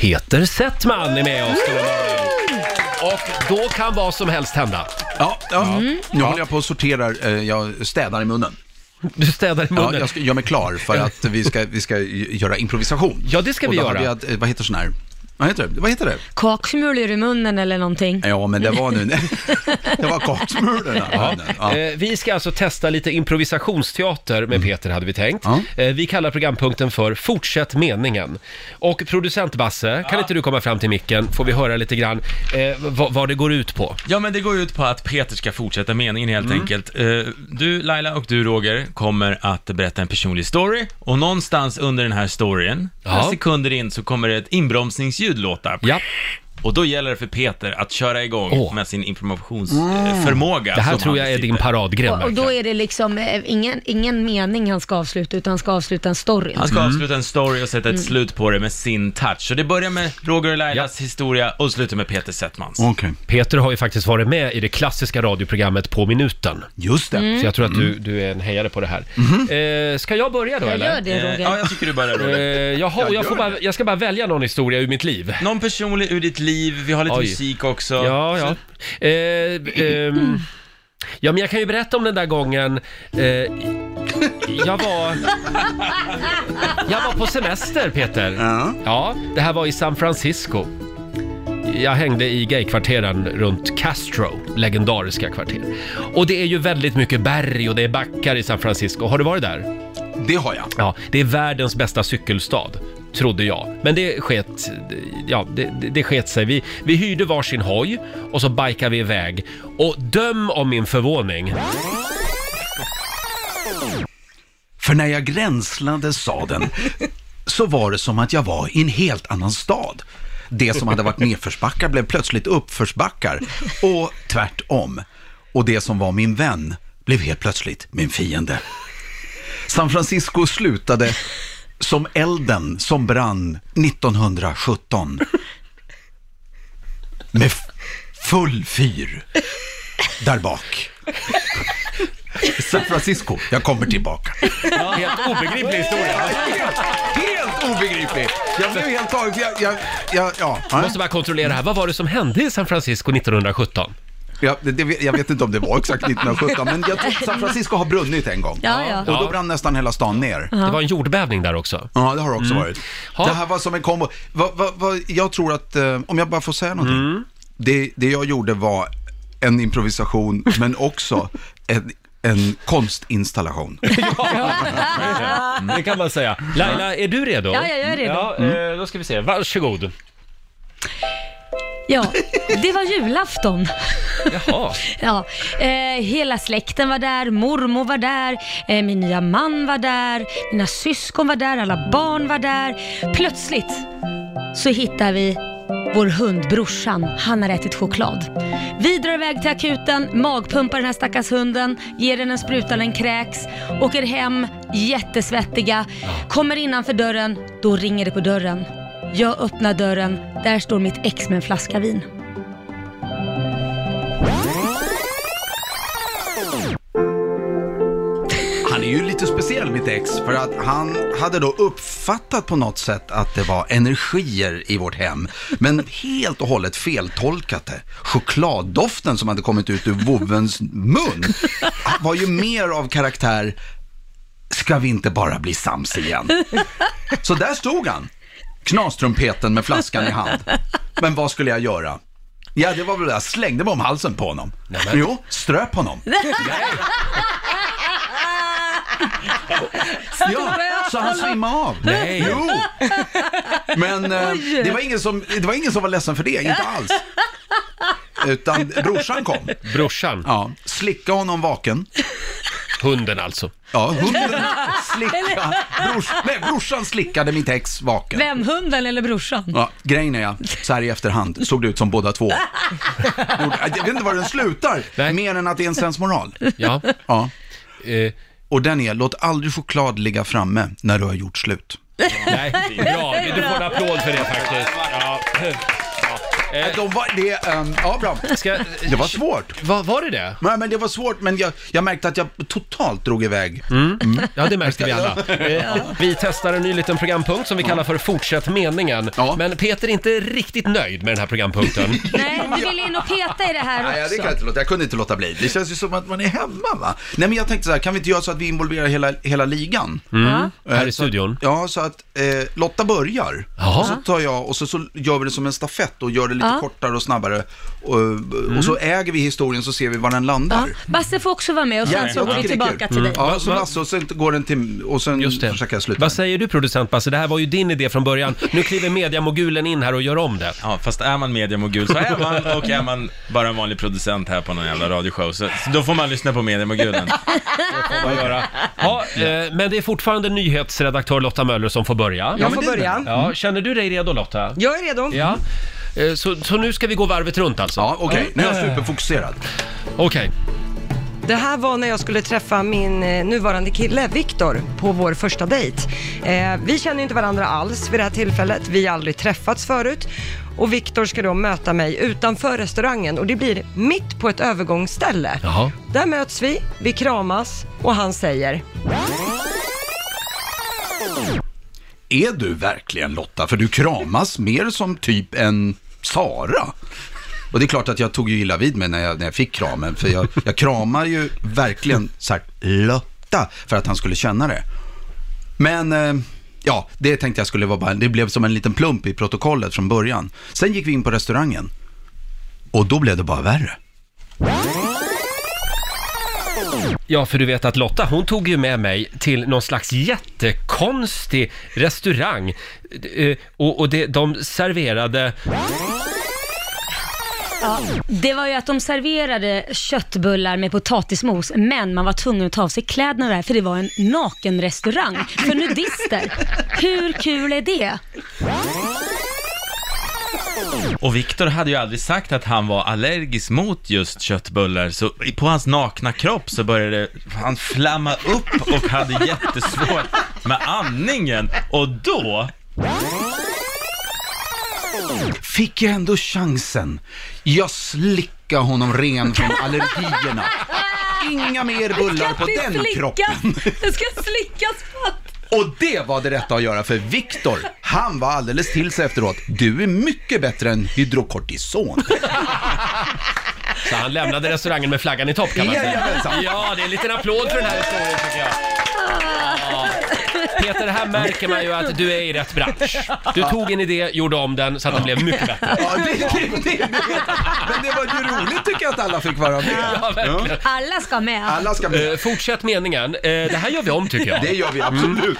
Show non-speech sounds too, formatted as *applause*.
Peter Settman är med oss den här morgonen. Och då kan vad som helst hända. Ja, ja. Mm. nu håller jag på och sorterar, eh, jag städar i munnen. Du städar i Ja, munnen. jag ska, gör mig klar för att vi ska, vi ska ju- göra improvisation. Ja, det ska och vi då göra. Hade jag, eh, vad heter sån här? Vad heter det? Vad heter det? Kaksmulor i munnen eller någonting. Ja, men det var nu... *laughs* det var kaksmulorna. Ja. Ja. Mm. Eh, Vi ska alltså testa lite improvisationsteater med Peter hade vi tänkt. Ja. Eh, Vi kallar programpunkten för Fortsätt meningen. Och producent Basse, kan inte du komma fram till micken? Får vi höra lite grann eh, vad, vad det går ut på. Ja, men det går ut på att Peter ska fortsätta meningen helt Mm. enkelt. Eh, Du, Laila och du, Roger, kommer att berätta en personlig story och någonstans under den här storyn, Ja. några sekunder in, så kommer det ett inbromsningsljud låta. Ja, Och då gäller det för Peter att köra igång Åh. Mm. med sin informationsförmåga. det här Alltså, tror jag är din paradgren Och, och då verkligen. är det liksom eh, ingen, ingen mening han ska avsluta, utan han ska avsluta en story. Han ska Mm. avsluta en story och sätta Mm. ett slut på det med sin touch. Så det börjar med Roger och Lailas historia och slutar med Peter Settmans. Eh. Okej, Peter har ju faktiskt varit med i det klassiska radioprogrammet På minuten. just det. Mm. Så jag tror att Mm. du, du är en hejare på det här. Mm-hmm. Eh, ska jag börja då Jag eller? gör det Eh, Roger. ja, jag tycker du börjar Roger. Eh, jaha, och jag, får bara, jag ska bara välja någon historia ur mitt liv. Någon personlig ur ditt liv, vi har lite Oj. musik också. Ja, ja. Eh, ehm, ja, men jag kan ju berätta om den där gången. Eh, jag var... Jag var på semester, Peter. Ja. Ja, det här var i San Francisco. Jag hängde i gaykvarteren runt Castro, legendariska kvarter. Och det är ju väldigt mycket berg och det är backar i San Francisco. Har du varit där? Det har jag. Ja, det är världens bästa cykelstad, trodde jag. Men det sket, ja, det, det, det sket sig. Vi, vi hyrde varsin hoj och så bikade vi iväg. Och döm om min förvåning. För när jag gränslade sadeln så var det som att jag var i en helt annan stad. Det som hade varit nedförsbackar blev plötsligt uppförsbackar och tvärtom. Och det som var min vän blev helt plötsligt min fiende. San Francisco slutade som elden som brann 1917. Med f- full fyr där bak. San Francisco, jag kommer tillbaka. Helt obegriplig historia. Helt obegriplig! Jag blev helt tagen, för jag, jag, jag, ja. Jag måste bara kontrollera här, vad var det som hände i San Francisco 1917? Jag, det, det, jag vet inte om det var exakt 1917, men jag tror San Francisco har brunnit en gång. Ja, ja. Och då brann nästan hela stan ner. Det var en jordbävning där också. Ja, det har det också varit. Mm. Ha. Det här var som en kombo. Va, va, va, jag tror att, eh, om jag bara får säga någonting. Det, det jag gjorde var en improvisation, men också en, en konstinstallation. Mm. Det kan man säga. Laila, är du redo? Ja, ja, jag är redo. Ja, eh, då ska vi se. Varsågod. Ja, det var julafton. Jaha. Ja, eh, hela släkten var där, mormor var där, eh, min nya man var där, mina syskon var där, alla barn var där. Plötsligt så hittar vi vår hund brorsan, han har ätit choklad. Vi drar iväg till akuten, magpumpar den här stackars hunden, ger den en spruta, den kräks, åker hem jättesvettiga, kommer innanför dörren, då ringer det på dörren. Jag öppnar dörren, där står mitt ex med en flaska vin. Han är ju lite speciell mitt ex, för att han hade då uppfattat på något sätt att det var energier i vårt hem, men helt och hållet feltolkat det. Chokladdoften som hade kommit ut ur vovvens mun var ju mer av karaktär, ska vi inte bara bli sams igen? Så där stod han, knastrumpeten med flaskan i hand. Men vad skulle jag göra? Ja, det var väl jag slängde mig om halsen på honom. Jo, ströp honom. Ja, så han svimmade av. Nej. Jo. Men eh, det, var ingen som, det var ingen som var ledsen för det, inte alls. Utan brorsan kom. Brorsan, Ja, slicka honom vaken. hunden alltså. Ja, hunden slicka. Brors, nej, brorsan slickade mitt ex vaken. Vem, hunden eller brorsan? Ja, grejen är, så här i efterhand, såg det ut som båda två. Jag vet inte var den slutar, Nej. mer än att det är en sensmoral. Ja. Ja. Eh, Och den är, låt aldrig choklad ligga framme när du har gjort slut. *laughs* Nej, bra. Du får en applåd för det faktiskt. Ja. Ja. Eh, De var, det, ehm, ja, bra. Ska, Det var svårt. Va, var det det? Nej, men det var svårt, men jag, jag märkte att jag totalt drog iväg. Mm. Ja, det märkte vi *laughs* alla. Eh, Vi testar en ny liten programpunkt som vi kallar för Fortsätt meningen. Ja. Men Peter är inte riktigt nöjd med den här *laughs* programpunkten. Nej, du vill in och peta i det här Nej, det kan jag, också. inte låta. jag kunde inte låta bli. Det känns ju som att man är hemma va? Nej men jag tänkte så här, kan vi inte göra så att vi involverar hela, hela ligan? Ja. Eh, Här i så, studion. Ja, så att eh, Lotta börjar. Jaha. Och så tar jag och så, så gör vi det som en stafett och gör det lite Ja. Mm. kortare och snabbare. Och, och så äger vi historien så ser vi var den Ja. landar. Basse får också vara med och sen Gärna. så Jag går vi tycker det är tillbaka kul. Mm. till dig. Ja, så Lasse och sen går den till, och sen Just det. försöker jag sluta. Vad säger du producent Basse? Det här var ju din idé från början. Nu kliver mediamogulen in här och gör om det. Ja, fast är man mediamogul så är man, och är man bara en vanlig producent här på någon jävla radioshow, så, så då får man lyssna på mediamogulen. Ja, eh, men det är fortfarande nyhetsredaktör Lotta Möller som får börja. Ja, Jag men får det är börja. Ja, känner du dig redo Lotta? Jag är redo. Ja. Eh, Så, så nu ska vi gå varvet runt alltså? Eh, Ja, okej. Nu är jag superfokuserad. Okej. Det här var när jag skulle träffa min eh, nuvarande kille Viktor på vår första dejt. Eh, vi känner ju inte varandra alls vid det här tillfället. Vi har aldrig träffats förut. Och Viktor ska då möta mig utanför restaurangen och det blir mitt på ett övergångsställe. Jaha. Där möts vi, vi kramas och han säger Är du verkligen Lotta? För du kramas mer som typ en Sara. Och det är klart att jag tog ju illa vid mig när jag, när jag fick kramen. För jag, jag kramar ju verkligen så här, Lotta för att han skulle känna det. Men eh, ja, det tänkte jag skulle vara bara, det blev som en liten plump i protokollet från början. Sen gick vi in på restaurangen. Och då blev det bara värre. Ja, för du vet att Lotta, hon tog ju med mig till någon slags jättekonstig restaurang. Eh, Och, och det, de serverade... Det var ju att de serverade köttbullar med potatismos, men man var tvungen att ta av sig kläderna där, för det var en nakenrestaurang för nudister. Hur kul är det? Och Viktor hade ju aldrig sagt att han var allergisk mot just köttbullar, så på hans nakna kropp så började han flamma upp och hade jättesvårt med andningen. Och då, Fick jag ändå chansen. Jag slickade honom ren från allergierna. Inga mer bullar på den kroppen. Det ska slickas på. Och det var det rätta att göra för Viktor, han var alldeles till sig efteråt. Du är mycket bättre än hydrokortison. Så han lämnade restaurangen med flaggan i topp kan man säga. Jajamensan. Ja, det är en liten applåd för den här historien tycker jag. Ja. Peter, här märker man ju att du är i rätt bransch. Du tog en idé, gjorde om den så att den blev mycket bättre. *laughs* Ja, det, det, det, det. Men det var ju roligt tycker jag att alla fick vara med. Ja, verkligen. Alla ska med. Alla ska Eh, med. fortsätt meningen. Eh, det här gör vi om tycker jag. Det gör vi absolut.